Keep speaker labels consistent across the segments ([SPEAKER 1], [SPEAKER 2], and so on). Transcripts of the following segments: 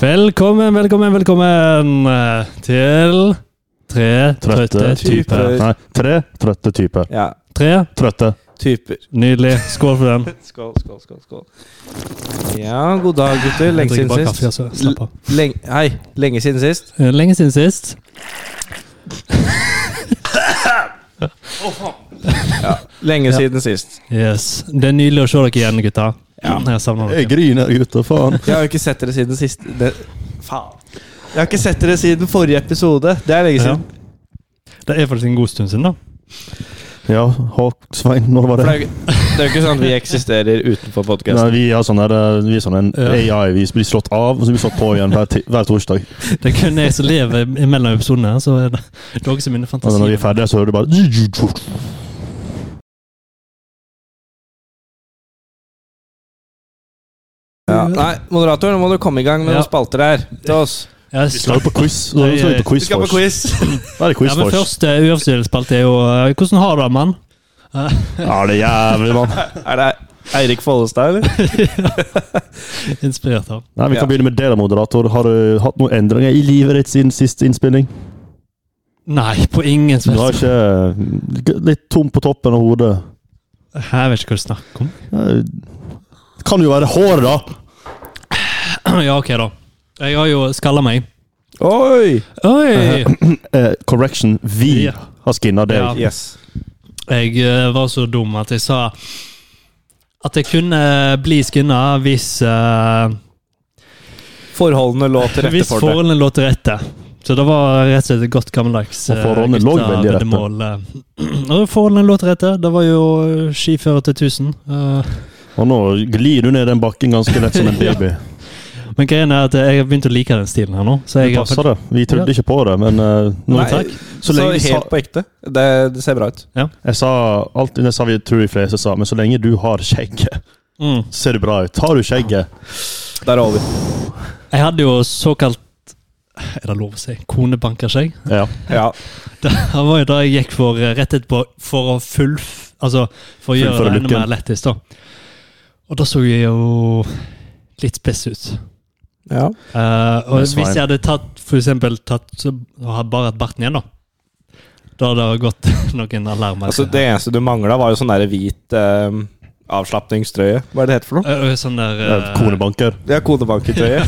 [SPEAKER 1] Velkommen, velkommen, velkommen eh, til Tre trøtte typer.
[SPEAKER 2] typer.
[SPEAKER 3] Nei, tre trøtte typer.
[SPEAKER 2] Ja,
[SPEAKER 1] Tre
[SPEAKER 3] Trøtte.
[SPEAKER 2] typer.
[SPEAKER 1] Nydelig. Skål for den.
[SPEAKER 2] Skål, skål, skål. skål. Ja, god dag, gutter. Lenge
[SPEAKER 1] Jeg drikker
[SPEAKER 2] siden
[SPEAKER 1] bare kaffe,
[SPEAKER 2] sist.
[SPEAKER 1] altså. Slapp av.
[SPEAKER 2] Lenge, hei, lenge siden sist.
[SPEAKER 1] Eh, Lenge siden sist.
[SPEAKER 2] Lenge siden sist.
[SPEAKER 1] Yes. Det er nydelig å se dere igjen, gutta. Jeg savner
[SPEAKER 3] Jeg
[SPEAKER 1] dere.
[SPEAKER 3] griner, gutter. Faen.
[SPEAKER 2] Jeg har jo ikke sett dere siden sist det, Faen. Jeg har ikke sett dere siden forrige episode. Det er lenge
[SPEAKER 1] Ja.
[SPEAKER 2] siden.
[SPEAKER 1] Det er faktisk en god stund siden, da.
[SPEAKER 3] Ja, Håk, Svein, når var
[SPEAKER 2] For Det
[SPEAKER 3] det?
[SPEAKER 2] er jo ikke- det er jo ikke sånn at vi eksisterer utenfor
[SPEAKER 3] Nei,
[SPEAKER 2] podkasten.
[SPEAKER 3] vi er sånn der, eh, vi er sånn en AI. Vi blir slått av, og så blir vi slått på igjen hver, ti- hver torsdag.
[SPEAKER 1] Det er kun jeg som lever mellom episodene, så er det dere som er mine
[SPEAKER 3] Altså, når vi er
[SPEAKER 1] fantasier.
[SPEAKER 3] ferdige, så hører du bare
[SPEAKER 2] Ja. Nei, moderator, nå må du komme i gang med
[SPEAKER 1] Ja.
[SPEAKER 2] noen spalter her til oss.
[SPEAKER 1] Yes.
[SPEAKER 3] Vi skal jo på quiz. Så
[SPEAKER 1] Nei,
[SPEAKER 3] vi skal jo på
[SPEAKER 2] Vi
[SPEAKER 3] quiz
[SPEAKER 2] skal på
[SPEAKER 3] først.
[SPEAKER 2] quiz.
[SPEAKER 3] Da er det
[SPEAKER 1] Ja,
[SPEAKER 3] quiz
[SPEAKER 1] men
[SPEAKER 3] først.
[SPEAKER 1] først, eh, uoffisiell spalte er jo eh, Hvordan har du det, mann?
[SPEAKER 3] Ja, det er jævlig, mann.
[SPEAKER 2] Er det Eirik Follestad, eller?
[SPEAKER 1] Inspirert av.
[SPEAKER 3] Nei, Vi
[SPEAKER 2] Ja.
[SPEAKER 3] kan begynne med deg, da, moderator. Har du hatt noen endringer i livet ditt siden siste innspilling?
[SPEAKER 1] Nei, på ingen som
[SPEAKER 3] Du har
[SPEAKER 1] helst.
[SPEAKER 3] ikke eh, Litt tom på toppen av hodet?
[SPEAKER 1] Jeg vet ikke hva du snakker om.
[SPEAKER 3] Ja, Det kan jo være håret, da!
[SPEAKER 1] Ja, ok, da. Jeg har jo skalla meg.
[SPEAKER 2] Oi!
[SPEAKER 1] Oi!
[SPEAKER 3] Eh, correction, vi
[SPEAKER 1] Ja.
[SPEAKER 3] har skinna deg.
[SPEAKER 1] Ja.
[SPEAKER 2] Yes.
[SPEAKER 1] Jeg eh, var så dum at jeg sa at jeg kunne bli skinna hvis, eh,
[SPEAKER 2] Forholdene lå til rette
[SPEAKER 1] hvis
[SPEAKER 2] for det.
[SPEAKER 1] forholdene lå til rette. Så det var rett og slett et godt gammeldags eh,
[SPEAKER 3] Og forholdene lå veldig rette.
[SPEAKER 1] rette. eh. Og forholdene lå til rette. Det var jo skiføre til 1000. eh,
[SPEAKER 3] Og nå glir du ned den bakken ganske lett som en
[SPEAKER 1] Ja.
[SPEAKER 3] baby.
[SPEAKER 1] Men greien er at jeg har begynt å like den stilen her nå. Så
[SPEAKER 3] Det
[SPEAKER 1] jeg
[SPEAKER 3] passer det. Vi trodde ikke på det, men eh, nå,
[SPEAKER 2] Nei,
[SPEAKER 1] takk.
[SPEAKER 3] så
[SPEAKER 2] Så,
[SPEAKER 3] lenge vi sa,
[SPEAKER 2] helt på ekte. Det, det ser bra ut.
[SPEAKER 3] jeg sa alltid, det sa vi tror de fleste sa, men så lenge du har skjegget,
[SPEAKER 1] Mm.
[SPEAKER 3] ser det bra ut. Har du skjegget?
[SPEAKER 2] Der er over.
[SPEAKER 1] Jeg hadde jo såkalt Er det lov å si? Konebanker seg.
[SPEAKER 3] Ja.
[SPEAKER 2] Ja.
[SPEAKER 1] Det var jo da jeg gikk for eh, rett etterpå for å fullf... Altså for å gjøre
[SPEAKER 3] Fullføre
[SPEAKER 1] det enda
[SPEAKER 3] looken.
[SPEAKER 1] mer lettest, da. Og da så jeg jo litt spess ut.
[SPEAKER 2] ja.
[SPEAKER 1] Eh, og
[SPEAKER 3] Men
[SPEAKER 1] hvis
[SPEAKER 3] Svein-
[SPEAKER 1] jeg hadde tatt for eksempel tatt så, og hadde bare hatt barten igjen, da Da hadde det gått noen alarmer.
[SPEAKER 2] Altså, det eneste du mangla, var jo sånn der hvit eh, avslapningstrøye. Hva er det det heter for noe?
[SPEAKER 1] Eh, eh, sånn der
[SPEAKER 3] Eh,
[SPEAKER 1] eh,
[SPEAKER 3] Konebanker.
[SPEAKER 2] Det er kodebanketrøye.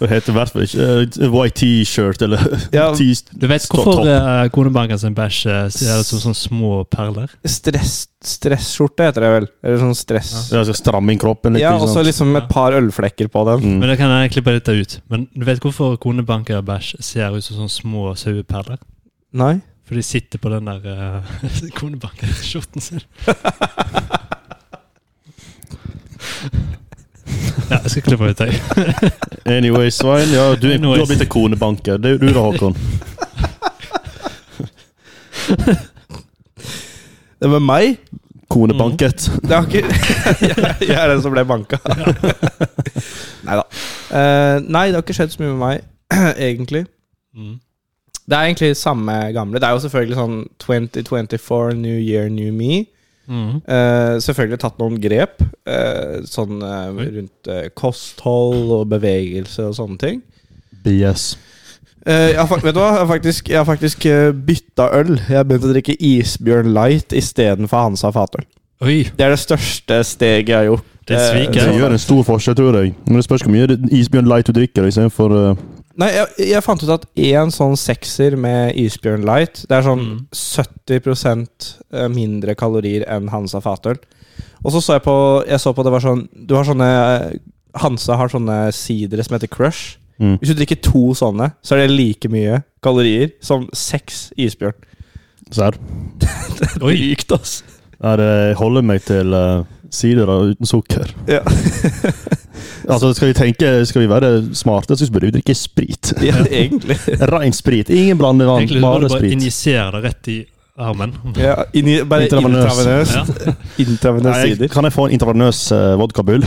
[SPEAKER 3] Det heter i hvert fall ikke eh, white t-shirt eller
[SPEAKER 2] Ja.
[SPEAKER 3] t
[SPEAKER 1] Du vet
[SPEAKER 3] Stå
[SPEAKER 1] hvorfor
[SPEAKER 3] topp.
[SPEAKER 1] eh, konebanker sin bæsj eh, ser ut som sånne små perler?
[SPEAKER 2] Stress, stresskjorte heter det vel. Eller sånn stress.
[SPEAKER 3] Ja, så Stramme inn kroppen litt.
[SPEAKER 2] Ja,
[SPEAKER 3] ikke
[SPEAKER 2] og så
[SPEAKER 3] sant?
[SPEAKER 2] liksom et par ølflekker på den.
[SPEAKER 3] Mm.
[SPEAKER 1] Men det kan jeg klippe dette ut. Men du vet hvorfor konebanker bæsj ser ut som sånne små saueperler?
[SPEAKER 2] Nei?
[SPEAKER 1] For de sitter på den der uh, konebankerskjorten sin. ja, jeg skal klippe ut deg.
[SPEAKER 3] Anyway, Svein, ja, du, er- du har blitt en konebanker. Det er jo du da, Håkon.
[SPEAKER 2] Det var meg?
[SPEAKER 3] Konebanket.
[SPEAKER 2] Det har ikke Jeg er den som ble banka. nei da. Eh, nei, det har ikke skjedd så mye med meg, egentlig.
[SPEAKER 1] Mm.
[SPEAKER 2] Det er egentlig samme gamle. Det er jo selvfølgelig sånn 2024, new year, new me.
[SPEAKER 1] Mm.
[SPEAKER 2] Eh, selvfølgelig tatt noen grep eh, sånn eh,
[SPEAKER 1] Oi.
[SPEAKER 2] rundt eh, kosthold og bevegelse og sånne ting.
[SPEAKER 3] BS.
[SPEAKER 2] Eh, jeg har, fak- vet du hva? Jeg har faktisk, jeg har faktisk eh, bytta øl. Jeg har begynt å drikke Isbjørn Light istedenfor Hansa Fatøl.
[SPEAKER 1] Oi,
[SPEAKER 2] Det er det største steget jeg har gjort.
[SPEAKER 1] det
[SPEAKER 2] Eh,
[SPEAKER 1] sviker.
[SPEAKER 3] Det gjør en stor forskjell, tror jeg. Men det spørs hvor mye isbjørn light du drikker. Istedenfor uh,
[SPEAKER 2] Nei, jeg, jeg fant ut at én sånn sekser med Isbjørn Light Det er sånn
[SPEAKER 1] Mm.
[SPEAKER 2] 70 mindre kalorier enn Hansa fatøl. Og så så jeg på, jeg så på det var sånn Du har sånne Hansa har sånne sidere som heter Crush.
[SPEAKER 3] mm.
[SPEAKER 2] Hvis du drikker to sånne, så er det like mye kalorier som seks isbjørn.
[SPEAKER 3] Serr.
[SPEAKER 1] Oi.
[SPEAKER 2] Sykt, ass!
[SPEAKER 3] Nei, det- Jeg holder meg til eh, sider da, uten sukker.
[SPEAKER 2] Ja.
[SPEAKER 3] Altså, skal vi tenke, skal vi være smarte, så burde vi drikke sprit.
[SPEAKER 2] ja, egentlig.
[SPEAKER 3] Ren sprit. Ingen blandevann,
[SPEAKER 1] Egentlig må du
[SPEAKER 3] bare
[SPEAKER 1] bare
[SPEAKER 3] sprit.
[SPEAKER 1] injisere det rett i armen.
[SPEAKER 2] Ja, inni, bare
[SPEAKER 3] Intravenøs.
[SPEAKER 2] intravenøst.
[SPEAKER 1] Ja.
[SPEAKER 2] Intravenøs
[SPEAKER 3] Nei, jeg,
[SPEAKER 2] sider.
[SPEAKER 3] kan jeg få en intravenøs eh, vodkabull?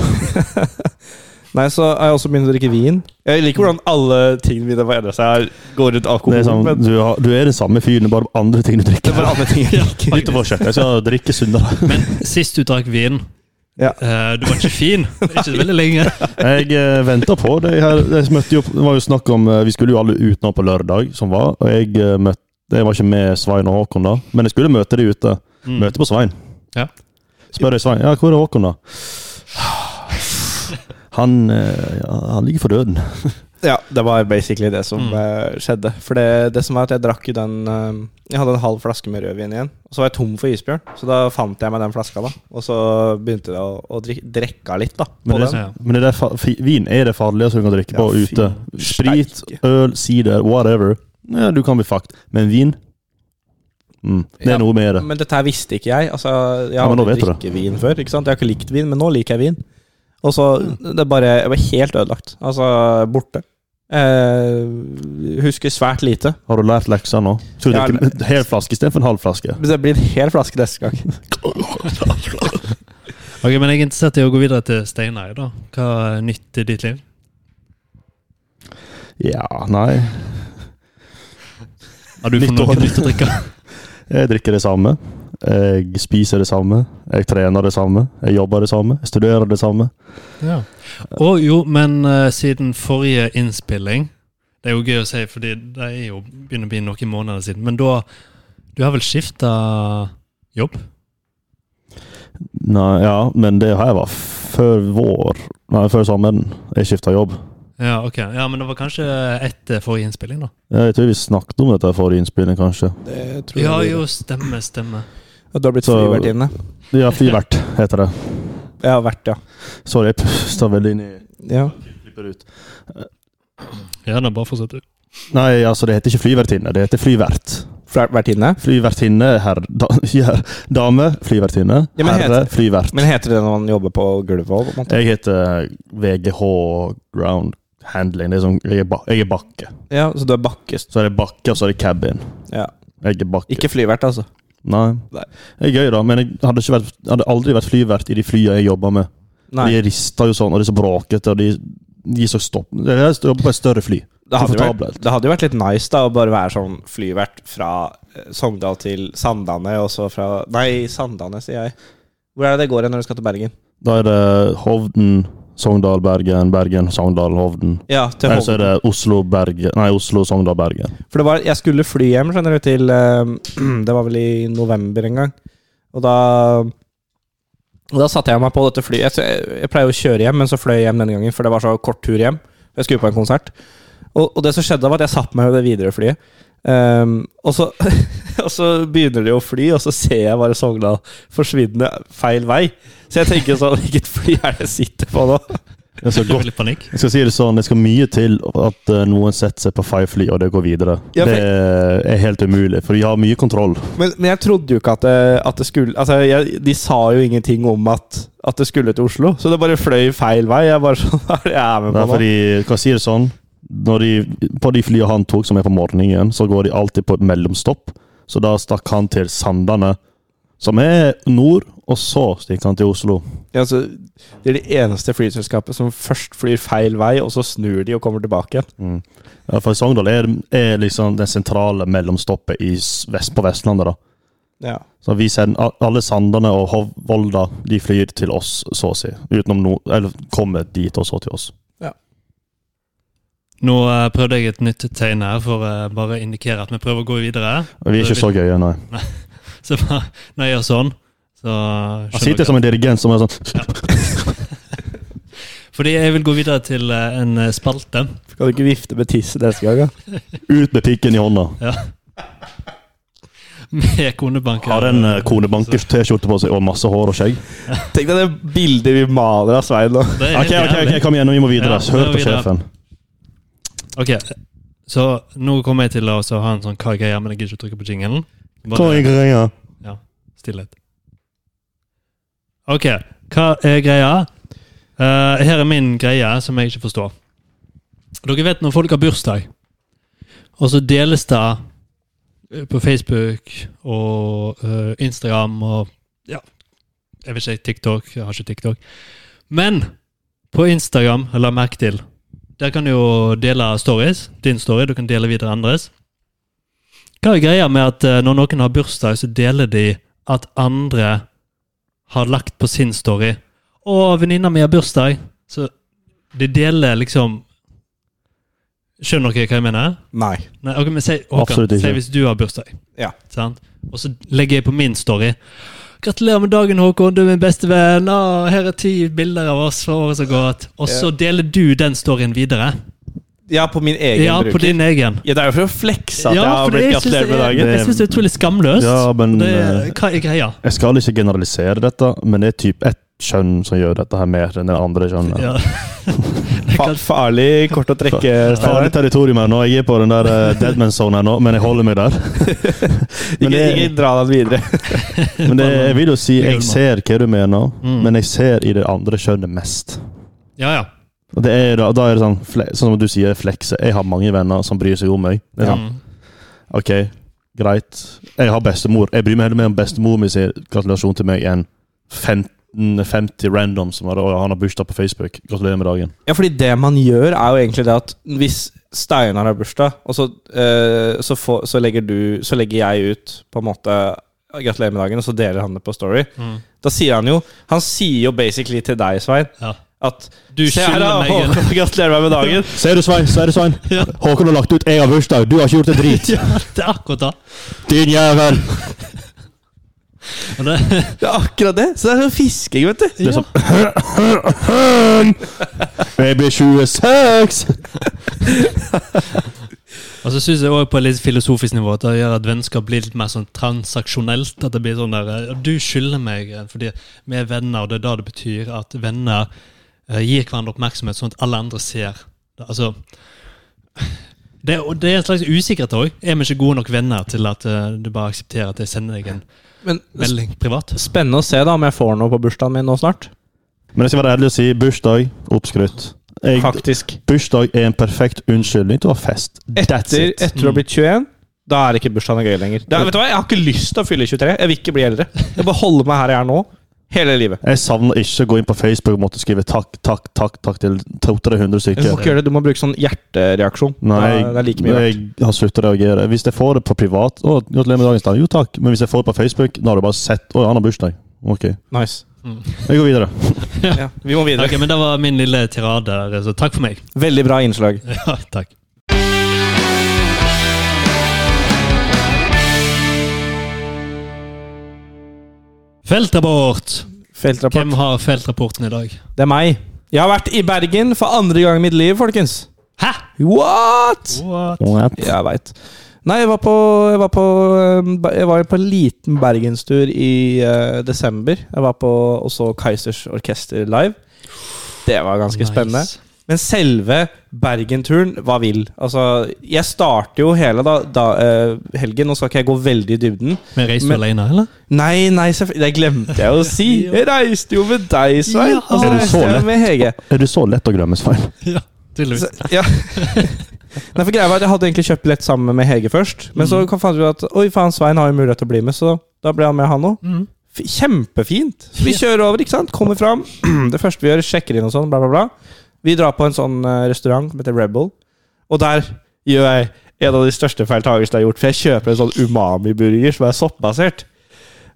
[SPEAKER 2] Nei, så har jeg også begynt å drikke vin. Jeg liker hvordan alle tingene mine har endra seg. her. Går rundt alkohol.
[SPEAKER 3] Det er sånn,
[SPEAKER 2] men-
[SPEAKER 3] du, har, du er den samme fyren, bare andre ting du
[SPEAKER 2] Det
[SPEAKER 3] drikker.
[SPEAKER 2] var andre ting jeg liker.
[SPEAKER 3] Utover kjøkkenet. Jeg skal drikke sunnere.
[SPEAKER 1] Men sist du drakk vin,
[SPEAKER 2] Ja.
[SPEAKER 1] Eh, du var ikke fin. Det er Ikke så veldig lenge.
[SPEAKER 3] Jeg eh, venta på det. her. Jeg møtte jo, det var jo snakk om, eh, Vi skulle jo alle ut nå på lørdag, som var. Og jeg eh, møtte jeg var ikke med Svein og Håkon da, men jeg skulle møte de ute.
[SPEAKER 1] Mm.
[SPEAKER 3] Møte på Svein.
[SPEAKER 1] Ja.
[SPEAKER 3] Spør jeg Svein ja, hvor er Håkon, da? Han, eh, ja, han ligger for døden.
[SPEAKER 2] Ja, det var basically det som
[SPEAKER 1] Mm.
[SPEAKER 2] eh, skjedde. For det, det som var at jeg drakk jo den eh, Jeg hadde en halv flaske med rødvin igjen. Og så var jeg tom for isbjørn, så da fant jeg meg den flaska, da. Og så begynte jeg å, å drikke, drekka litt, da. På
[SPEAKER 3] Men det,
[SPEAKER 2] den.
[SPEAKER 1] Ja.
[SPEAKER 3] men det der, fa- fi- vin er det farligste du kan drikke på
[SPEAKER 2] Ja, fy
[SPEAKER 3] ute. Sprit, øl, sider, whatever. Ja, du kan bli fucked. Men vin mm, Det er
[SPEAKER 2] Ja,
[SPEAKER 3] noe med det.
[SPEAKER 2] Men dette her visste ikke jeg. Altså, jeg
[SPEAKER 3] Ja,
[SPEAKER 2] har
[SPEAKER 3] men nå
[SPEAKER 2] aldri
[SPEAKER 3] vet
[SPEAKER 2] drikket vin før. Ikke sant? Jeg har ikke likt vin, men nå liker jeg vin. Og så det er bare Jeg var helt ødelagt. Altså borte. Eh, husker svært lite.
[SPEAKER 3] Har du lært leksa nå? Skal du
[SPEAKER 2] Ja,
[SPEAKER 3] drikke en hel flaske istedenfor en halv flaske?
[SPEAKER 2] Men Det blir en hel flaske neste gang.
[SPEAKER 1] Ok, Men jeg er interessert i å gå videre til Steinar. da. Hva er nytt i ditt liv?
[SPEAKER 3] Ja, nei
[SPEAKER 1] Har du
[SPEAKER 3] Nytt
[SPEAKER 1] fått noe
[SPEAKER 3] år.
[SPEAKER 1] nytt å drikke?
[SPEAKER 3] Jeg drikker det samme. Jeg spiser det samme. Jeg trener det samme. Jeg jobber det samme. Jeg studerer det samme.
[SPEAKER 1] Ja. Og jo, men eh, siden forrige innspilling Det er jo gøy å si, fordi det er jo begynner å bli noen måneder siden. Men da Du har vel skifta jobb?
[SPEAKER 3] Nei, ja, men det her var før vår Nei, før sommeren. Jeg skifta jobb.
[SPEAKER 1] Ja, ok. Ja, men det var kanskje etter forrige innspilling, da.
[SPEAKER 3] Jeg tror vi snakket om dette i forrige innspilling, kanskje.
[SPEAKER 2] Det tror
[SPEAKER 1] Ja,
[SPEAKER 2] jeg
[SPEAKER 1] jo, stemme, stemme.
[SPEAKER 2] Og du har blitt
[SPEAKER 3] Så-
[SPEAKER 2] flyvertinne?
[SPEAKER 3] Ja, Frivert heter det.
[SPEAKER 2] Jeg har vært, ja.
[SPEAKER 3] Sorry, jeg puster veldig inn i
[SPEAKER 2] ja.
[SPEAKER 3] Klipper ut.
[SPEAKER 1] Ja, da bare fortsett du.
[SPEAKER 3] Nei, altså, det heter ikke flyvertinne. Det heter flyvert.
[SPEAKER 2] Fl- Vertinne?
[SPEAKER 3] Flyvertinne, herr da, ja, Dame, flyvertinne.
[SPEAKER 2] Ja, men
[SPEAKER 3] herre,
[SPEAKER 2] heter-
[SPEAKER 3] flyvert.
[SPEAKER 2] Men heter det når man jobber på gulvet òg, på en måte?
[SPEAKER 3] Jeg heter VGH Ground Handling. Det er sånn, jeg, er ba, jeg er bakke.
[SPEAKER 2] Ja, så du er bakkest.
[SPEAKER 3] Så er det bakke, og så er det cabin.
[SPEAKER 2] Ja.
[SPEAKER 3] Jeg er bakke.
[SPEAKER 2] Ikke flyvert, altså.
[SPEAKER 3] Nei.
[SPEAKER 2] Nei.
[SPEAKER 3] Det er gøy, da, men jeg hadde, ikke vært, hadde aldri vært flyvert i de flya jeg jobba med.
[SPEAKER 2] Nei.
[SPEAKER 3] De rister jo sånn, og de er så bråkete, og de, de er så stopp... Jeg jobber på et større fly.
[SPEAKER 2] Det hadde, jo vært,
[SPEAKER 3] komfortabelt.
[SPEAKER 2] det hadde jo vært litt nice da å bare være sånn flyvert fra eh, Sogndal til Sandane, og så fra Nei, Sandane, sier jeg. Hvor er det det går hen når du skal til Bergen?
[SPEAKER 3] Da er det Hovden, Sogndal, Bergen, Bergen, Sogndal, Hovden.
[SPEAKER 2] Ja, til
[SPEAKER 3] Eller så er
[SPEAKER 2] Hovden.
[SPEAKER 3] det Oslo, Bergen Nei, Oslo, Sogndal, Bergen.
[SPEAKER 2] For det var, jeg skulle fly hjem, skjønner du, til eh, Det var vel i november en gang. Og da Og da satte jeg meg på dette flyet. Jeg, jeg pleier jo å kjøre hjem, men så fløy jeg hjem denne gangen, for det var så kort tur hjem. Jeg skulle på en konsert. Og, og det som skjedde, da, var at jeg satte meg i det videre flyet. Ehm, og, så, og så begynner det å fly, og så ser jeg bare Sogndal forsvinne feil vei. Så jeg tenker sånn Hvilket fly er det jeg sitter på nå?
[SPEAKER 3] Jeg skal,
[SPEAKER 1] Du
[SPEAKER 3] gå,
[SPEAKER 1] fikk litt panikk?
[SPEAKER 3] jeg skal si det sånn, det skal mye til at eh, noen setter seg på feil fly, og det går videre.
[SPEAKER 2] Ja, for-
[SPEAKER 3] Det er helt umulig, for de har mye kontroll.
[SPEAKER 2] Men, men jeg trodde jo ikke at det, at det skulle Altså, jeg, De sa jo ingenting om at, at det skulle til Oslo, så det bare fløy feil vei. Jeg bare sånn, Hva er det jeg er med
[SPEAKER 3] Det
[SPEAKER 2] på
[SPEAKER 3] er
[SPEAKER 2] nå?
[SPEAKER 3] fordi, hva sier det sånn? Når de, på de flyene han tok, som er på morgenen, så går de alltid på et mellomstopp. Så da stakk han til Sandane, som er nord, og så stikker han til Oslo.
[SPEAKER 2] Ja, altså, det er det eneste flyselskapet som først flyr feil vei, og så snur de og kommer tilbake igjen.
[SPEAKER 3] Mm. Ja, for Sogndal er, er liksom den sentrale mellomstoppet i s- vest, på Vestlandet. da.
[SPEAKER 2] Ja.
[SPEAKER 3] Så vi sender, a- Alle Sandane og Hov- Volda de flyr til oss, så å si. Utenom no, eller kommer dit og så til oss.
[SPEAKER 1] Nå eh, prøvde jeg et nytt tegn her for å bare å indikere at vi prøver å gå videre.
[SPEAKER 3] Og Vi er ikke så gøye, nei.
[SPEAKER 1] Så bare, når jeg gjør sånn, så
[SPEAKER 3] Han sitter som en dirigent som er sånn
[SPEAKER 1] Fordi jeg vil gå videre til eh, en eh, spalte.
[SPEAKER 2] Skal du ikke vifte med tisset neste gang, da?
[SPEAKER 3] Ut med pikken i hånda.
[SPEAKER 1] Med konebanker.
[SPEAKER 3] Har en eh, konebankers T-skjorte på seg og masse hår og skjegg.
[SPEAKER 2] Tenk deg det bildet vi maler av Svein nå.
[SPEAKER 1] Det er helt
[SPEAKER 3] Ok, ok, ok,
[SPEAKER 1] jævlig.
[SPEAKER 3] kom igjen, nå, vi må
[SPEAKER 1] Ja,
[SPEAKER 3] videre. Hør
[SPEAKER 1] nå
[SPEAKER 3] på
[SPEAKER 1] videre.
[SPEAKER 3] sjefen.
[SPEAKER 1] Ok, Så nå kommer jeg til å også ha en sånn hva er greia, men jeg gidder ikke å trykke på jingelen.
[SPEAKER 3] Hva er greia?
[SPEAKER 1] Stillhet. Ok, hva er greia? Eh, her er min greie som jeg ikke forstår. Dere vet når folk har bursdag, og så deles det eh, på Facebook og eh, Instagram og ja, jeg vet ikke, TikTok. Jeg har ikke TikTok. Men på Instagram, eller merk til, der kan du jo dele stories. Din story. Du kan dele videre andres. Hva er greia med at eh, når noen har bursdag, så deler de at andre har lagt på sin story, Og venninna mi har bursdag. Så de deler liksom Skjønner dere hva jeg mener?
[SPEAKER 2] Nei.
[SPEAKER 1] Nei, ok, men si, Håkan,
[SPEAKER 3] Absolutt ikke.
[SPEAKER 1] si hvis du har bursdag.
[SPEAKER 2] Ja.
[SPEAKER 1] Sant? Og så legger jeg på min story. 'Gratulerer med dagen, Håkon. Du er min beste venn. Å, her er ti bilder av oss fra året som har gått.' Og så deler du den storyen videre.
[SPEAKER 2] Ja, på min egen
[SPEAKER 1] Ja, på
[SPEAKER 2] bruker.
[SPEAKER 1] din egen.
[SPEAKER 2] Ja, det er jo for å flekse at jeg
[SPEAKER 1] Ja,
[SPEAKER 2] har
[SPEAKER 1] for
[SPEAKER 2] blitt
[SPEAKER 1] jeg syns det
[SPEAKER 2] gratulert med
[SPEAKER 1] er-
[SPEAKER 2] dagen.
[SPEAKER 1] jeg syns det er utrolig skamløst.
[SPEAKER 3] Ja, men
[SPEAKER 1] det,
[SPEAKER 3] eh,
[SPEAKER 1] er- hva er greia?
[SPEAKER 3] Jeg skal ikke generalisere dette, men det er typ ett kjønn som gjør dette her mer enn den andre kjønnet.
[SPEAKER 1] Ja.
[SPEAKER 2] Fa farlig kort å trekke.
[SPEAKER 3] Farlig
[SPEAKER 2] Steinar.
[SPEAKER 3] territorium her nå. Jeg er på den der eh, deadman zone her nå, men jeg holder meg der. Men
[SPEAKER 2] Ikke,
[SPEAKER 3] det-
[SPEAKER 2] ikke dra den videre.
[SPEAKER 3] Men det, jeg vil jo si
[SPEAKER 1] Det er
[SPEAKER 3] jeg
[SPEAKER 1] gulma.
[SPEAKER 3] ser hva du mener,
[SPEAKER 1] Mm.
[SPEAKER 3] men jeg ser i det andre kjønnet mest.
[SPEAKER 1] ja, ja.
[SPEAKER 3] Og det er, da- da er det sånn, fle, sånn som du sier, flekse. Jeg har mange venner som bryr seg om meg. Det er sånn,
[SPEAKER 1] Mm.
[SPEAKER 3] ok, greit. Jeg har bestemor. Jeg bryr meg heller mer om bestemor min sier gratulasjon til meg enn 15, 50 random som har, og han har bursdag på Facebook. Gratulerer med dagen.
[SPEAKER 2] Ja, fordi det man gjør, er jo egentlig det at hvis Steinar har bursdag, og så, eh, så, får, så, legger du, så legger jeg ut på en måte Gratulerer med dagen, og så deler han det på Story.
[SPEAKER 1] Mm.
[SPEAKER 2] Da sier han jo Han sier jo basically til deg, Svein,
[SPEAKER 1] ja.
[SPEAKER 2] at
[SPEAKER 1] Du
[SPEAKER 2] Se her,
[SPEAKER 1] skylder
[SPEAKER 2] da!
[SPEAKER 1] meg en
[SPEAKER 2] Håkon, gratulerer meg med dagen.
[SPEAKER 3] Ser du, Svein? Ser du, Svein?
[SPEAKER 1] Ja.
[SPEAKER 3] Håkon har lagt ut 'jeg har bursdag'. Du har ikke gjort en drit.
[SPEAKER 1] Ja, det er akkurat det.
[SPEAKER 3] Din jævel!
[SPEAKER 1] Og det
[SPEAKER 2] Det er akkurat det! Så det er sånn fisking, vet du.
[SPEAKER 3] Det er sånn Jeg blir 26!
[SPEAKER 1] Og så syns jeg også på et litt filosofisk nivå at det gjør at vennskap blir litt mer sånn transaksjonelt. At det blir sånn der eh, Du skylder meg eh, fordi vi er venner, og det er da det betyr at venner eh, gir hverandre oppmerksomhet, sånn at alle andre ser. Altså det, er- og det er en slags usikkerhet òg. Er vi ikke gode nok venner til at eh, du bare aksepterer at jeg sender deg en
[SPEAKER 2] Men
[SPEAKER 1] melding privat?
[SPEAKER 2] spennende å se da om jeg får noe på bursdagen min nå snart.
[SPEAKER 3] Men jeg skal være ærlig og si bursdag oppskrytt. Jeg,
[SPEAKER 2] Faktisk.
[SPEAKER 3] bursdag er en perfekt unnskyldning til å ha fest. That's
[SPEAKER 2] Etter,
[SPEAKER 3] it.
[SPEAKER 2] etter å ha blitt 21, da er ikke bursdagen gøy lenger. Da, vet du hva, Jeg har ikke lyst til å fylle 23. Jeg vil ikke bli eldre. Jeg bare holder meg her jeg er nå. Hele livet.
[SPEAKER 3] Jeg savner ikke å gå inn på Facebook og måtte skrive takk, takk, takk takk til 200
[SPEAKER 2] Du får
[SPEAKER 3] stykker.
[SPEAKER 2] ikke gjøre det, du må bruke sånn hjertereaksjon.
[SPEAKER 3] Nei,
[SPEAKER 2] Da-
[SPEAKER 3] jeg,
[SPEAKER 2] det er like mye verdt.
[SPEAKER 3] jeg har sluttet å reagere. Hvis jeg får det på privat Å, gratulerer med dagens dag. Jo takk. Men hvis jeg får det på Facebook, da har du bare sett Å, han har bursdag. Ok.
[SPEAKER 2] Nice.
[SPEAKER 3] Jeg går videre.
[SPEAKER 2] Ja, vi må videre.
[SPEAKER 1] Ok, men Det var min lille tirade. der, Så takk for meg.
[SPEAKER 2] Veldig bra innslag.
[SPEAKER 1] Ja, takk. Feltrapport! Hvem
[SPEAKER 2] Feltrapport.
[SPEAKER 1] har feltrapporten i dag?
[SPEAKER 2] Det er meg. Jeg har vært i Bergen for andre gang i mitt liv, folkens.
[SPEAKER 1] Hæ?!
[SPEAKER 2] What?! Jeg veit. Nei, jeg var på Jeg var på, øhm, ba- jeg var på en liten bergenstur i øh, desember. Jeg var på også Kaizers Orkester live. Det var ganske spennende. Men selve Bergenturen var vill. Altså, jeg starter jo hele da, da, øh, helgen. Nå skal ikke jeg gå veldig i dybden.
[SPEAKER 1] Vi reiser
[SPEAKER 2] Men-
[SPEAKER 1] alene, eller?
[SPEAKER 2] Nei, nei, selvfø- det glemte jeg å si! Jeg reiste jo med deg, Svein!
[SPEAKER 1] Ja.
[SPEAKER 2] Og så
[SPEAKER 1] Er det
[SPEAKER 2] reiste
[SPEAKER 3] så
[SPEAKER 2] jeg med Hege.
[SPEAKER 3] Er du så lett å glemme, Svein?
[SPEAKER 1] Ja, tydeligvis.
[SPEAKER 2] Så, ja. Nei, for greia var at Jeg hadde egentlig kjøpt billett sammen med Hege først. Men så fant vi ut at Oi faen, Svein har jo mulighet til å bli med, så da ble han med, han òg.
[SPEAKER 1] Mm.
[SPEAKER 2] Kjempefint. Så vi kjører over, ikke sant? kommer fram. Det første vi gjør, sjekker inn og sånn, bla, bla, bla. Vi drar på en sånn eh, restaurant som heter Rebel, og der gjør jeg en av de største feiltagelsene jeg har gjort. For jeg kjøper en sånn umami-burger som er soppbasert.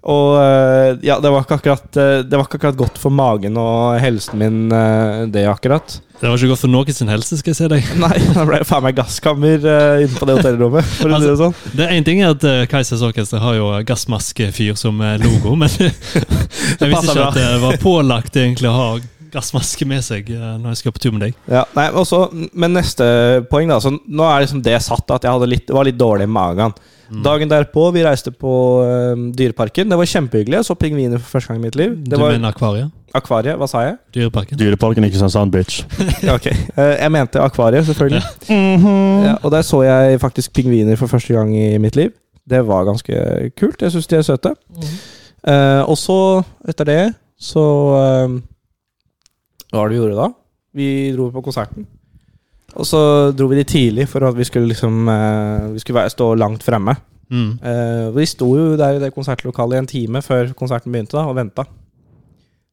[SPEAKER 2] Og eh, ja, det var, ikke akkurat, eh, det var ikke akkurat godt for magen og helsen min, eh, det akkurat.
[SPEAKER 1] Det var ikke godt for noen sin helse, skal jeg si deg.
[SPEAKER 2] Nei, da ble det faen meg gasskammer eh, inne på det hotellrommet. For å si det sånn.
[SPEAKER 1] Det er Én ting er at eh, Kaizers Orkester har jo eh, gassmaskefyr som eh, logo, men jeg visste ikke
[SPEAKER 2] passer bra.
[SPEAKER 1] at det var pålagt egentlig å ha gassmaske med seg eh, når jeg skal på tur med deg.
[SPEAKER 2] Ja, nei, og så- men neste poeng, da. Så nå er liksom det satt at jeg hadde litt, var litt dårlig i magen.
[SPEAKER 1] Mm.
[SPEAKER 2] Dagen derpå, vi reiste på eh, Dyreparken. Det var kjempehyggelig. Jeg så pingviner for første gang i mitt liv.
[SPEAKER 1] Mm.
[SPEAKER 2] Det
[SPEAKER 1] du
[SPEAKER 2] var
[SPEAKER 1] mener akvariet?
[SPEAKER 2] akvariet. Hva sa jeg?
[SPEAKER 1] Dyreparken?
[SPEAKER 3] Dyreparken er ikke sånn sound bitch.
[SPEAKER 2] Ja, ok. Eh, jeg mente akvariet, selvfølgelig.
[SPEAKER 3] Mm.
[SPEAKER 2] ja, og der så jeg faktisk pingviner for første gang i mitt liv. Det var ganske kult. Jeg syns de er søte. Eh, og så, etter det, så eh, Hva var det vi gjorde da? Vi dro på konserten. Og så dro vi dit tidlig for at vi skulle liksom eh, Vi skulle være, stå langt fremme.
[SPEAKER 1] Mm.
[SPEAKER 2] Eh, vi sto jo der i det konsertlokalet i en time før konserten begynte da, og venta.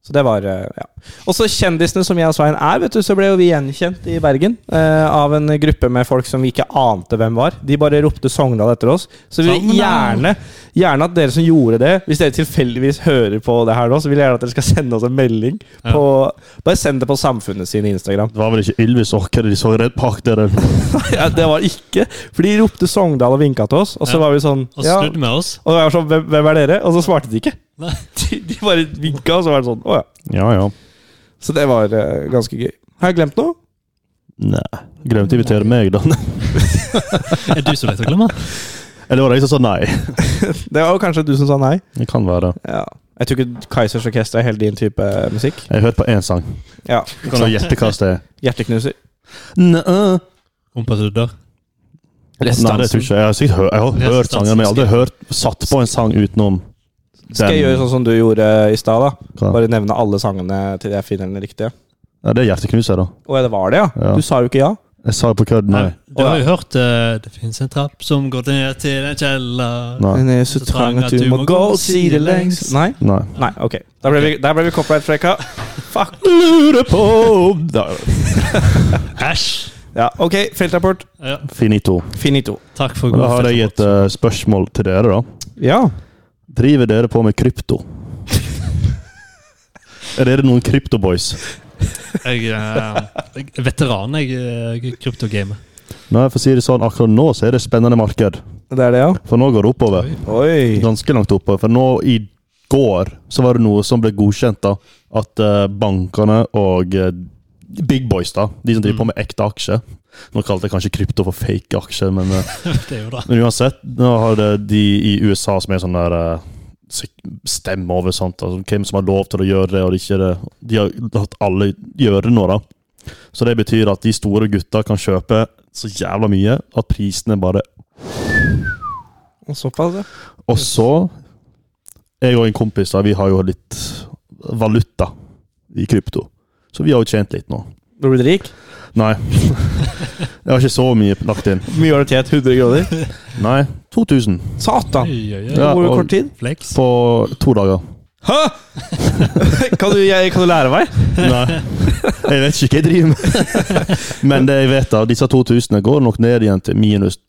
[SPEAKER 2] Så det var eh, ja. Også kjendisene som jeg og Svein er, vet du, så ble jo vi gjenkjent i Bergen eh, av en gruppe med folk som vi ikke ante hvem var. De bare ropte Sogndal etter oss. Så vi vil gjerne,
[SPEAKER 1] Sogndal!
[SPEAKER 2] gjerne at dere som gjorde det, hvis dere tilfeldigvis hører på det her nå, så vil jeg gjerne at dere skal sende oss en melding.
[SPEAKER 1] Ja.
[SPEAKER 2] På, bare send det på Samfunnet sin Instagram.
[SPEAKER 3] Det var vel ikke Ylvis Orker de så redd bak der?
[SPEAKER 2] ja, det var ikke, for de ropte Sogndal og vinka til oss, og så
[SPEAKER 1] Ja.
[SPEAKER 2] var vi sånn
[SPEAKER 1] Og
[SPEAKER 2] ja,
[SPEAKER 1] snudd med oss.
[SPEAKER 2] og jeg var sånn, hvem, hvem er dere? Og så svarte de ikke.
[SPEAKER 1] Nei.
[SPEAKER 2] De, de bare vinka, og så var det sånn. Å ja.
[SPEAKER 3] Ja, ja.
[SPEAKER 2] Så det var eh, ganske gøy. Har jeg glemt noe?
[SPEAKER 3] Nei. Glemte å invitere meg, da.
[SPEAKER 1] Er du så lett å glemme?
[SPEAKER 3] Eller var det jeg som sa nei?
[SPEAKER 2] Det var jo kanskje du som sa nei.
[SPEAKER 3] Det kan være.
[SPEAKER 2] Ja. Jeg tror ikke Kaizers Orkester er helt din type eh, musikk.
[SPEAKER 3] Jeg hørte på én sang.
[SPEAKER 2] Ja,
[SPEAKER 3] Kan du gjette hva det er?
[SPEAKER 2] Hjerteknuser.
[SPEAKER 3] Nei,
[SPEAKER 1] Rumpadudder.
[SPEAKER 3] det tror jeg ikke. Jeg har sikkert hørt, jeg har
[SPEAKER 1] Less
[SPEAKER 3] hørt sangen, men jeg har aldri hørt satt på en sang utenom den.
[SPEAKER 2] Skal jeg gjøre sånn som du gjorde i stad? da?
[SPEAKER 3] Hva?
[SPEAKER 2] Bare nevne alle sangene til jeg finner den riktige.
[SPEAKER 3] Ja, det er hjerteknuser, da.
[SPEAKER 2] Å ja, det var det, ja?
[SPEAKER 3] Ja.
[SPEAKER 2] Du sa jo ikke ja.
[SPEAKER 3] Jeg sa jo på kødd nei.
[SPEAKER 1] Du har jo hørt eh, 'Det fins en trapp som går ned til en kjeller'.
[SPEAKER 3] Nei.
[SPEAKER 2] Den er eh, så trang at du må gå sidelengs. Nei?
[SPEAKER 3] Nei.
[SPEAKER 2] Nei, ok. Der ble vi, der ble vi copyright-freka. Fuck!
[SPEAKER 3] Lurer på da,
[SPEAKER 1] Æsj!
[SPEAKER 2] Ja, ok. Feltrapport.
[SPEAKER 1] Ja,
[SPEAKER 3] Finito.
[SPEAKER 2] Finito.
[SPEAKER 1] takk for god
[SPEAKER 3] Da har jeg et eh, spørsmål til dere, da.
[SPEAKER 2] Ja.
[SPEAKER 3] Driver dere på med krypto? er dere noen kryptoboys?
[SPEAKER 1] Jeg eh, jeg er veteran, jeg, eh, kryptogame.
[SPEAKER 3] Nei, for å si det sånn, akkurat nå så er det spennende marked.
[SPEAKER 2] Det er det, ja.
[SPEAKER 3] For nå går det oppover.
[SPEAKER 2] Oi.
[SPEAKER 3] Ganske langt oppover. For nå i går så var det noe som ble godkjent, da. At eh, bankene og eh, big boys, da, de som driver på med ekte aksjer Nå kalte jeg kanskje krypto for fake aksjer, men eh,
[SPEAKER 1] Det er jo da.
[SPEAKER 3] Men uansett, nå har det de i USA som er sånn der eh, sik- Stemme over sånt, altså, hvem som har lov til å gjøre det og ikke det. De har latt alle gjøre det nå, da. Så det betyr at de store gutta kan kjøpe så jævla mye at prisene bare
[SPEAKER 2] Såpass, ja.
[SPEAKER 3] Og så Jeg og en kompis da, vi har jo litt valuta i krypto. Så vi har jo tjent litt nå.
[SPEAKER 2] Du har blitt rik?
[SPEAKER 3] Nei. Jeg har ikke så mye lagt inn.
[SPEAKER 2] Hvor mye har du tjent? 100 kroner?
[SPEAKER 3] Nei, 2000
[SPEAKER 2] Satan!
[SPEAKER 1] Oi, oi, oi.
[SPEAKER 3] Ja,
[SPEAKER 2] Hvor
[SPEAKER 3] og-
[SPEAKER 2] kort tid?
[SPEAKER 1] Flex.
[SPEAKER 3] på to dager.
[SPEAKER 2] Hæ?! kan, du, jeg, kan du lære meg?
[SPEAKER 3] Nei, jeg vet ikke hva jeg driver med. Men det jeg vet av disse 2000 går nok ned igjen til minus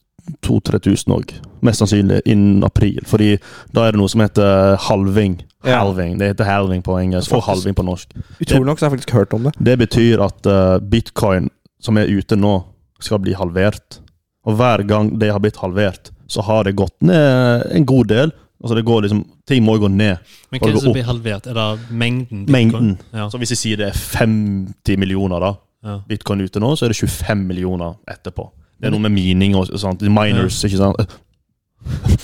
[SPEAKER 3] 2000-3000 òg. Mest sannsynlig innen april, fordi da er det noe som heter halving.
[SPEAKER 2] Ja.
[SPEAKER 3] Halving, Det heter halving på engelsk og halving på norsk.
[SPEAKER 2] Utrolig nok så har jeg faktisk hørt om det.
[SPEAKER 3] Det betyr at eh, bitcoin, som er ute nå, skal bli halvert. Og hver gang det har blitt halvert, så har det gått ned en god del. Altså det går liksom, Ting må jo gå ned.
[SPEAKER 1] Men hva er det
[SPEAKER 3] Opp.
[SPEAKER 1] som blir halvert? Er det mengden?
[SPEAKER 3] Mengden.
[SPEAKER 1] Ja.
[SPEAKER 3] Så hvis jeg sier det er 50 millioner, da,
[SPEAKER 1] Ja.
[SPEAKER 3] bitcoin ute nå, så er det 25 millioner etterpå. Det er noe med mening og sånt. Miners, ikke sant?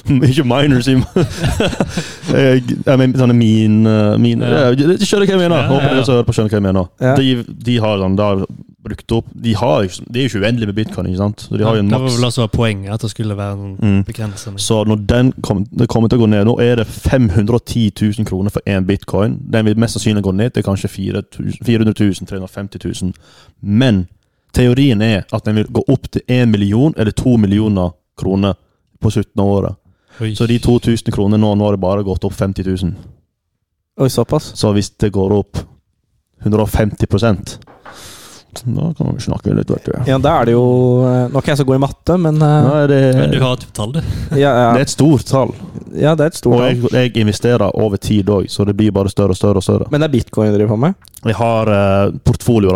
[SPEAKER 3] ikke miners i Jeg- Jeg mener sånne min, min
[SPEAKER 1] Ja.
[SPEAKER 3] ja. Du skjønner hva jeg mener?
[SPEAKER 1] Ja, ja, ja.
[SPEAKER 3] Håper dere som hører på, skjønner hva jeg mener.
[SPEAKER 2] Ja.
[SPEAKER 3] De, de har sånn, de har brukt opp De har jo ikke- de er jo ikke uendelig med bitcoin, ikke sant? Så de har jo en
[SPEAKER 1] det var
[SPEAKER 3] maks.
[SPEAKER 1] vel også poenget, at det skulle være en
[SPEAKER 3] Mm.
[SPEAKER 1] begrensning.
[SPEAKER 3] Så når den kom, det kommer til å gå ned Nå er det 510 000 kroner for én bitcoin. Den vil mest sannsynlig gå ned til kanskje 4000 400 000, 350 000. Men teorien er at den vil gå opp til 1 million eller 2 millioner kroner på slutten av året.
[SPEAKER 1] Oi.
[SPEAKER 3] Så de 2000 kronene nå, nå har det bare gått opp 50 000.
[SPEAKER 2] Oi, såpass.
[SPEAKER 3] Så hvis det går opp 150 da kan vi snakke litt, vet du.
[SPEAKER 2] Ja, da er det jo eh, Nå er ikke jeg så god i matte, men eh,
[SPEAKER 3] Nei, det,
[SPEAKER 1] Men du
[SPEAKER 3] det
[SPEAKER 1] har et tall, du.
[SPEAKER 2] ja,
[SPEAKER 3] er
[SPEAKER 2] ja,
[SPEAKER 3] et stort tall.
[SPEAKER 2] ja, det er et stort
[SPEAKER 3] Og
[SPEAKER 2] tall.
[SPEAKER 3] jeg, jeg investerer over tid òg, så det blir bare større og større. og større.
[SPEAKER 2] Men det er bitcoin du driver på med?
[SPEAKER 3] Jeg har eh, portfolioer,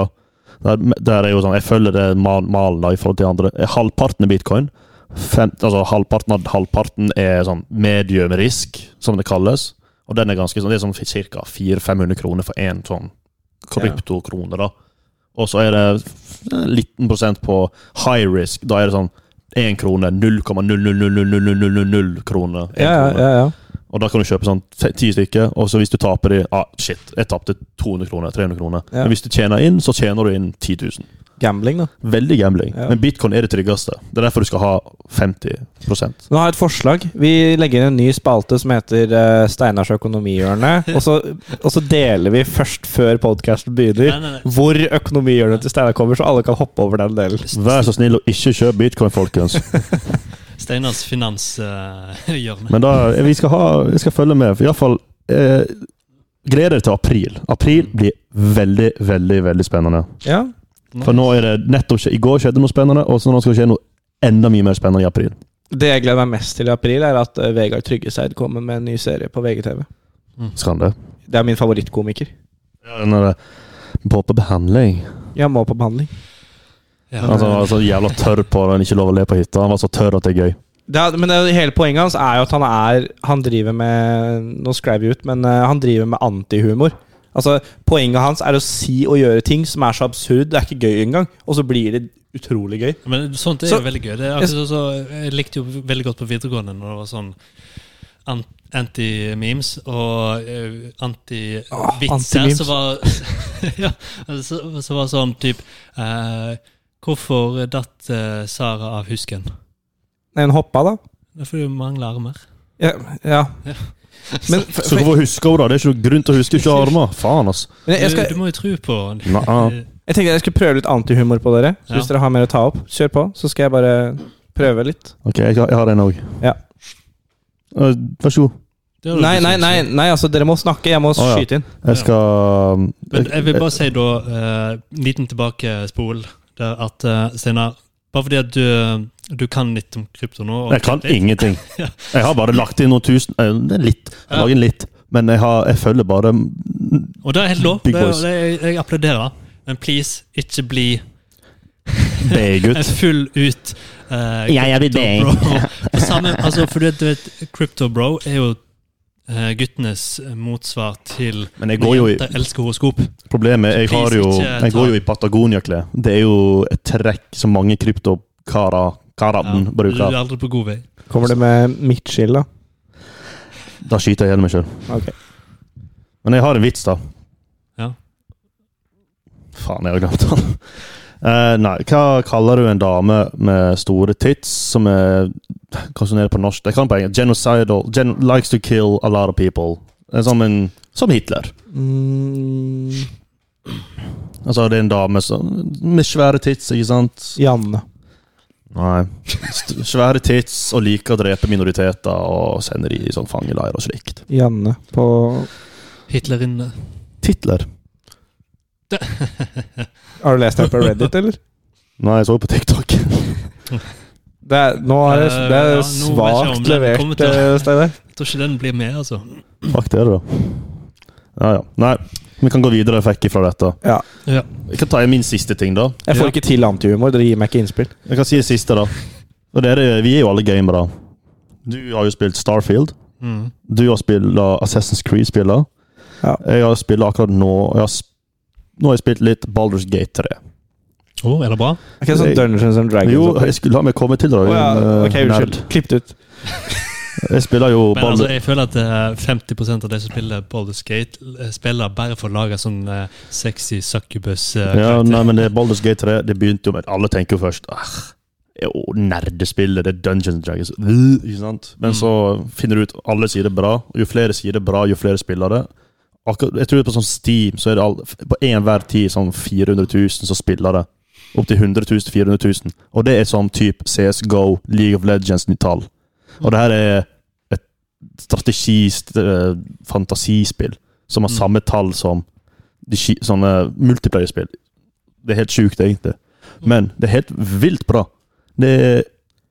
[SPEAKER 3] da. Der, der er jo sånn, Jeg følger det mal- malen da, i forhold til andre. Eh, Halvparten er bitcoin. Fem, altså Halvparten av halvparten er sånn medium risk, som det kalles. Og den er ganske sånn, Det er sånn ca. 400-500 kroner for én sånn kryptokrone. da. Og så er det f- en liten prosent på high risk. Da er det sånn én krone, 0,0000000 kroner. en
[SPEAKER 2] Ja, ja,
[SPEAKER 3] krone.
[SPEAKER 2] ja, ja.
[SPEAKER 3] Og da kan du kjøpe sånn te- ti stykker, og så hvis du taper de ah, Shit, jeg tapte 200 kroner, 300 kroner.
[SPEAKER 2] Ja.
[SPEAKER 3] Men hvis du tjener inn, så tjener du inn 10 000.
[SPEAKER 2] Gambling, da.
[SPEAKER 3] Veldig gambling.
[SPEAKER 2] Ja.
[SPEAKER 3] Men bitcoin er det tryggeste. Det er derfor du skal ha 50
[SPEAKER 2] Nå har jeg et forslag. Vi legger inn en ny spalte som heter eh, Steinars økonomihjørne. Og, så- og så deler vi først før podkasten begynner,
[SPEAKER 1] Nei, nei, nei.
[SPEAKER 2] hvor økonomihjørnet til Steinar kommer, så alle kan hoppe over den delen.
[SPEAKER 3] Vær så snill og ikke kjøp bitcoin, folkens.
[SPEAKER 1] Steinars finanshjørne.
[SPEAKER 3] Men da, vi skal, ha, vi skal følge med. For iallfall eh, Gled deg til april. April blir veldig, veldig veldig spennende.
[SPEAKER 2] Ja.
[SPEAKER 3] For nå er det nettopp skje- I går skjedde noe spennende, og så nå skal det skje noe enda mye mer spennende i april.
[SPEAKER 2] Det jeg gleder meg mest til i april, er at eh, Vegard Tryggeseid kommer med en ny serie på VGTV.
[SPEAKER 3] Skal han det?
[SPEAKER 2] Det er min favorittkomiker.
[SPEAKER 3] Ja, den er det. På på behandling.
[SPEAKER 2] Jeg må på behandling.
[SPEAKER 1] Ja.
[SPEAKER 3] Altså, han var så jævla tørr på det, han ikke lov å le på hytta. Han var så tørr at det er gøy.
[SPEAKER 2] Det er, men det, er- hele poenget hans er jo at han er Han driver med Nå skrev jeg ut, men eh, han driver med antihumor. Altså, Poenget hans er å si og gjøre ting som er så absurd. Det er ikke gøy engang. Og så blir det utrolig gøy.
[SPEAKER 1] Men sånt er
[SPEAKER 2] Så-
[SPEAKER 1] jo veldig gøy. Det er akkurat sånn som- jeg likte jo veldig godt på videregående når det var sånn an- anti-memes og eh,
[SPEAKER 2] Åh,
[SPEAKER 1] anti-vitser
[SPEAKER 2] Ah, anti-memes.
[SPEAKER 1] som var ja, altså, så, så var sånn type eh, Hvorfor datt eh, Sara av husken?
[SPEAKER 2] Nei, Hun hoppa, da.
[SPEAKER 1] Det er fordi hun mangler armer.
[SPEAKER 2] Ja. ja.
[SPEAKER 1] Ja.
[SPEAKER 2] Men, for,
[SPEAKER 3] Så
[SPEAKER 2] for,
[SPEAKER 3] hvorfor husker hun da? Det er ikke noe grunn til å huske ikke armer. Faen, altså.
[SPEAKER 2] men jeg,
[SPEAKER 1] du,
[SPEAKER 2] skal,
[SPEAKER 1] du må jo tro på
[SPEAKER 3] Nei.
[SPEAKER 2] jeg tenkte jeg skulle prøve litt antihumor på dere. Så
[SPEAKER 1] Ja.
[SPEAKER 2] Hvis dere har mer å ta opp, kjør på. Så skal jeg bare prøve litt.
[SPEAKER 3] Ok, jeg, har- jeg har en òg.
[SPEAKER 2] Ja.
[SPEAKER 3] Vær så god.
[SPEAKER 1] Det har du
[SPEAKER 2] Nei,
[SPEAKER 1] ikke
[SPEAKER 2] nei,
[SPEAKER 1] sagt.
[SPEAKER 2] nei, nei altså dere må snakke. Jeg må
[SPEAKER 3] ja.
[SPEAKER 2] skyte inn.
[SPEAKER 3] Jeg skal
[SPEAKER 1] Men jeg vil bare si da, eh, liten tilbakespol, der at eh, Steinar Bare fordi at du, du kan litt om krypto nå og
[SPEAKER 3] Jeg kan ingenting.
[SPEAKER 1] Ja.
[SPEAKER 3] Jeg har bare lagt inn noen tusen eh, det er Litt. Jeg
[SPEAKER 1] Ja.
[SPEAKER 3] lager inn litt. Men jeg, har, jeg følger bare
[SPEAKER 1] Og det er helt lov.
[SPEAKER 3] Big
[SPEAKER 1] Det, er-
[SPEAKER 3] boys.
[SPEAKER 1] det, er- jeg applauderer. Men please, ikke bli en
[SPEAKER 3] B-gutt.
[SPEAKER 1] full ut uh,
[SPEAKER 3] Jeg er blitt
[SPEAKER 1] Samme, altså, for du vet, Crypto-bro er jo eh, guttenes motsvar til
[SPEAKER 3] Men jeg går jo i
[SPEAKER 1] jenter elsker horoskop.
[SPEAKER 3] Problemet jeg har jo Jeg går jo i Patagonia-klær. Det er jo et trekk som mange kryptokarer karaden
[SPEAKER 1] du
[SPEAKER 3] bruker.
[SPEAKER 1] er aldri på god vei.
[SPEAKER 2] Kommer det med midtskill, da?
[SPEAKER 3] Da skyter jeg ihjel meg sjøl.
[SPEAKER 2] Ok.
[SPEAKER 3] Men jeg har en vits, da.
[SPEAKER 1] Ja.
[SPEAKER 3] Faen, jeg har glemt den. Eh, nei, hva kaller du en dame med store tits som er Hva som er det på norsk? Jeg kan på engelsk. Genocidal. Gen likes to kill a lot of people. Eh, Som, en, som Hitler.
[SPEAKER 2] Mm,
[SPEAKER 3] Altså, det er en dame som, med svære tits, ikke sant?
[SPEAKER 2] Janne.
[SPEAKER 3] Nei. St svære tits og liker å drepe minoriteter og sender de i sånn fangeleir og slikt.
[SPEAKER 2] Janne på
[SPEAKER 1] Hitlerinne.
[SPEAKER 3] Titler?
[SPEAKER 2] Har du lest den på Reddit, eller?
[SPEAKER 3] Nei, jeg så på TikTok.
[SPEAKER 2] Det er, nå er det,
[SPEAKER 1] Eh,
[SPEAKER 2] det er
[SPEAKER 1] ja, nå vet jeg om
[SPEAKER 2] svakt
[SPEAKER 1] den kommer
[SPEAKER 2] levert,
[SPEAKER 1] til å-
[SPEAKER 2] eh, Steinar.
[SPEAKER 1] Jeg tror ikke den blir med, altså.
[SPEAKER 3] Fuck det, da. Ja, ja. Nei, vi kan gå videre jeg fikk ifra dette.
[SPEAKER 2] Ja.
[SPEAKER 1] Ja.
[SPEAKER 3] Jeg kan ta inn min siste ting, da.
[SPEAKER 2] Jeg får
[SPEAKER 1] Ja.
[SPEAKER 2] ikke til antihumor. Dere gir meg ikke innspill.
[SPEAKER 3] Jeg kan si det siste, da. Og dere, vi er jo alle gamere. Du har jo spilt Starfield.
[SPEAKER 1] Mm.
[SPEAKER 3] Du har spilt eh, Assassin's Creed-spiller.
[SPEAKER 2] Ja.
[SPEAKER 3] Jeg har spilt akkurat nå og jeg har sp Nå har jeg spilt litt Baldur's Gate 3.
[SPEAKER 1] Å, er det bra?
[SPEAKER 2] Ok, sånn
[SPEAKER 3] Jeg-
[SPEAKER 2] Dungeons and Dragons.
[SPEAKER 3] Jo,
[SPEAKER 2] opplegg.
[SPEAKER 3] jeg skulle la meg komme til det.
[SPEAKER 2] Å ja,
[SPEAKER 3] eh,
[SPEAKER 2] ok, unnskyld.
[SPEAKER 3] nerd.
[SPEAKER 2] Klipp det ut.
[SPEAKER 3] Jeg spiller jo
[SPEAKER 1] Men altså,
[SPEAKER 3] Baldur...
[SPEAKER 1] jeg føler at eh, 50 av de som spiller Boulder Skate, eh, spiller bare for å lage sånn eh, sexy succubus. eh,
[SPEAKER 3] Ja,
[SPEAKER 1] karakter.
[SPEAKER 3] nei, men det er Baldur's Gate 3. Det begynte jo med Alle tenker jo først ah, jo, nerdespillet, det er Dungeons and Dragons. Øh, Ikke sant? Men
[SPEAKER 1] Mm.
[SPEAKER 3] så finner du ut alle sier det bra. Og jo flere sier det bra, jo flere spiller det. Akkurat, jeg tror på sånn Steam så er det all, på enhver tid sånn 400 000 som spiller det. Opptil 100 000-400 000. Og det er sånn type CSGO, League of Legends i tall. Og det her er et strategi, st- eh, fantasispill, som har
[SPEAKER 1] Mm.
[SPEAKER 3] samme tall som de, ski- sånne multiplayer-spill. Det er helt sjukt, egentlig.
[SPEAKER 1] Mm.
[SPEAKER 3] Men det er helt vilt bra. Det er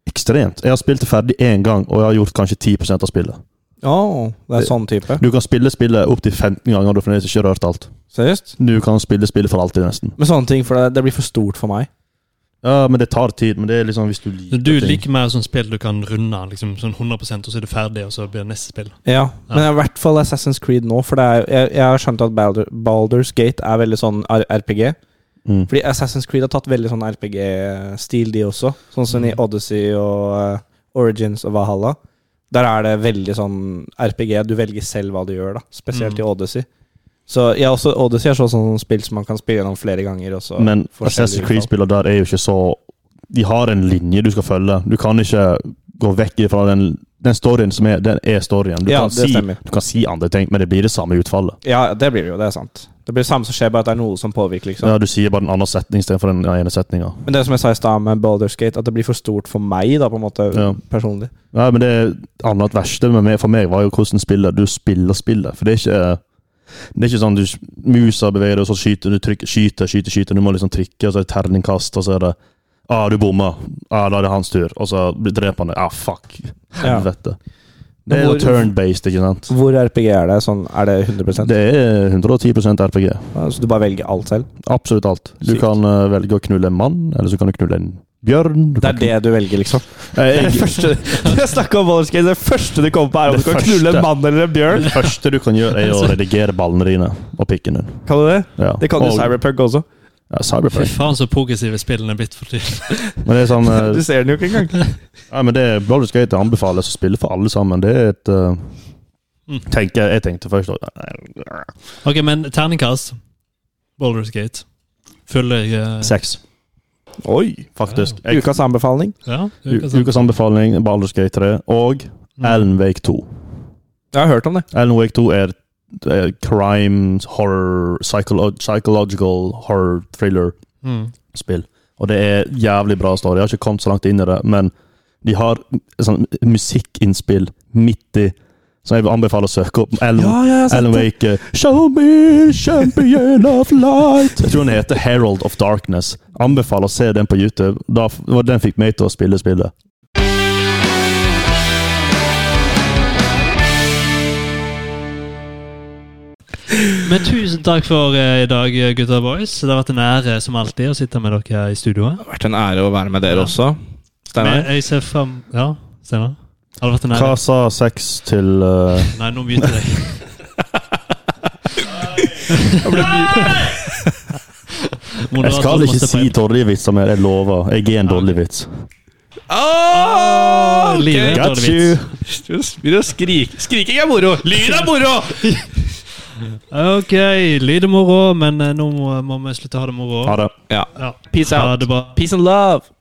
[SPEAKER 3] ekstremt. Jeg har spilt det ferdig én gang, og jeg har gjort kanskje 10 av spillet.
[SPEAKER 2] Å, det er sånn type.
[SPEAKER 3] Du kan spille spillet opptil 15 ganger, og du har fremdeles ikke rørt alt.
[SPEAKER 2] Seriøst?
[SPEAKER 3] Du kan spille spillet for alltid, nesten.
[SPEAKER 2] Men sånne ting, for det, det blir for stort for meg.
[SPEAKER 3] Ja, men det tar tid. Men det er liksom hvis du
[SPEAKER 1] Så
[SPEAKER 3] liker
[SPEAKER 1] Du
[SPEAKER 3] ting.
[SPEAKER 1] liker mer sånn spill du kan runde liksom sånn 100 og så er du ferdig, og så blir det neste spill.
[SPEAKER 2] Ja,
[SPEAKER 1] Ja.
[SPEAKER 2] Men i hvert fall Assassin's Creed nå, for det er, jeg, jeg har skjønt at Baldur, Baldur's Gate er veldig sånn R- RPG.
[SPEAKER 3] Mm.
[SPEAKER 2] Fordi Assassin's Creed har tatt veldig sånn RPG-stil, de også. Sånn som i
[SPEAKER 1] Mm.
[SPEAKER 2] Odyssey og eh, Origins og Valhalla. Der er det veldig sånn RPG. Du velger selv hva du gjør, da. Spesielt
[SPEAKER 1] Mm.
[SPEAKER 2] i Odyssey. Så ja, også Odyssey er sånn, sånn spill som man kan spille gjennom flere ganger. Også.
[SPEAKER 3] Men
[SPEAKER 2] forskjellige
[SPEAKER 3] Assassin's
[SPEAKER 2] utfall.
[SPEAKER 3] Creed-spiller der er jo ikke så De har en linje du skal følge. Du kan ikke gå vekk fra den, den storyen som er Den er storyen. Du,
[SPEAKER 2] ja,
[SPEAKER 3] kan
[SPEAKER 2] det
[SPEAKER 3] si,
[SPEAKER 2] stemmer.
[SPEAKER 3] du kan si andre ting, men det blir det samme utfallet.
[SPEAKER 2] Ja, det blir det jo. Det er sant. Det blir det samme som skjer, bare at det er noe som påvirker, liksom.
[SPEAKER 3] Ja, du sier bare en annen setning istedenfor den ene setninga.
[SPEAKER 2] Men det som jeg sa i stad med Baldur's Gate, at det blir for stort for meg, da, på en måte,
[SPEAKER 3] Ja.
[SPEAKER 2] personlig.
[SPEAKER 3] Nei, men det annet verste med meg, for meg var jo hvordan spillet, du spiller spillet. For det er ikke Det er ikke sånn du musa beveger deg, og så skyter du, trykker, skyter, skyter, skyter. Du må liksom trykke, og så er det terningkast, og så er det Ah, du bomma. Ah, da er det hans tur. Og så blir- dreper han deg. Ah, fuck. Helvete. Det er jo
[SPEAKER 2] Hvor-
[SPEAKER 3] turn-based, ikke sant?
[SPEAKER 2] Hvor RPG er det? Sånn, er det 100
[SPEAKER 3] Det er 110 RPG.
[SPEAKER 2] Så du bare velger alt selv?
[SPEAKER 3] Absolutt alt. Du
[SPEAKER 2] Sykt.
[SPEAKER 3] kan eh, velge å knulle en mann, eller så kan du knulle en bjørn. Du
[SPEAKER 2] Det
[SPEAKER 3] kan
[SPEAKER 2] er det du velger, liksom?
[SPEAKER 3] Eh, jeg-
[SPEAKER 2] første Jeg snakket om Baldur's Gate, det første du kommer på,
[SPEAKER 3] Det første.
[SPEAKER 2] mann eller en bjørn.
[SPEAKER 3] Det første du kan gjøre, er å redigere ballene dine og pikken din.
[SPEAKER 2] Kan du det?
[SPEAKER 3] Ja.
[SPEAKER 2] Det kan du i
[SPEAKER 3] Og-
[SPEAKER 2] Cyberpunk også.
[SPEAKER 3] Ja,
[SPEAKER 1] Fy
[SPEAKER 3] Cyberpunk.
[SPEAKER 1] faen, så progressive spillene er blitt for tiden.
[SPEAKER 3] Men det er sånn eh,
[SPEAKER 2] Du ser den jo ikke engang.
[SPEAKER 3] ja, men det er Baldur's Gate jeg anbefales å spille for alle sammen. Det er et eh,
[SPEAKER 1] Mm.
[SPEAKER 3] tenker, Jeg tenkte først eh,
[SPEAKER 1] Ok, men terningkast. Boulders Gate. Følger jeg eh,
[SPEAKER 3] Sex,
[SPEAKER 2] Oi!
[SPEAKER 3] faktisk. Jeg,
[SPEAKER 2] Ukas anbefaling.
[SPEAKER 1] Ja, det virker
[SPEAKER 3] u-
[SPEAKER 1] sånn.
[SPEAKER 3] ukas anbefaling, Mm. Baldur's Gate 3 og
[SPEAKER 1] Mm.
[SPEAKER 3] Alan Wake 2.
[SPEAKER 2] Jeg har hørt om det.
[SPEAKER 3] Alan Wake 2 er eh, crime, horror, psycholo psychological horror thriller.
[SPEAKER 1] Mm.
[SPEAKER 3] spill. Og det er jævlig bra story. Jeg har ikke kommet så langt inn i det, men de har sånn musikkinnspill midt i, som jeg vil anbefale å søke opp. Alan,
[SPEAKER 2] ja, jeg
[SPEAKER 3] Alan Wake. eh, Show me champion of light. Jeg tror den heter Herald of Darkness. Anbefaler å se den på YouTube. Da, f- det var den fikk meg til å spille spillet.
[SPEAKER 1] Men tusen takk for eh, i dag, gutta boys. Det har vært en ære som alltid å sitte med dere her i studioet.
[SPEAKER 2] Det har vært en ære å være med
[SPEAKER 1] Ja.
[SPEAKER 2] dere også.
[SPEAKER 1] Men
[SPEAKER 2] Steinar?
[SPEAKER 1] jeg ser frem Ja, Steinar? Har det vært en ære?
[SPEAKER 3] Hva sa sex til eh,
[SPEAKER 1] Nei, nå begynte jeg.
[SPEAKER 3] Jeg skal ikke si dårlige vitser mer, jeg lover. Jeg er en dårlig vits.
[SPEAKER 2] Ah, ok.
[SPEAKER 1] Livet.
[SPEAKER 3] Got
[SPEAKER 1] Dårlig
[SPEAKER 3] you!
[SPEAKER 1] vits.
[SPEAKER 2] Begynn å skrike. Skriking er moro! Lyd er moro!
[SPEAKER 1] Ok, lyd er moro, men eh, nå må, må vi slutte å ha det moro.
[SPEAKER 3] Ha det.
[SPEAKER 2] Ja.
[SPEAKER 1] Ja.
[SPEAKER 2] Peace
[SPEAKER 1] Ha
[SPEAKER 2] out.
[SPEAKER 1] det bra.
[SPEAKER 2] Peace and love.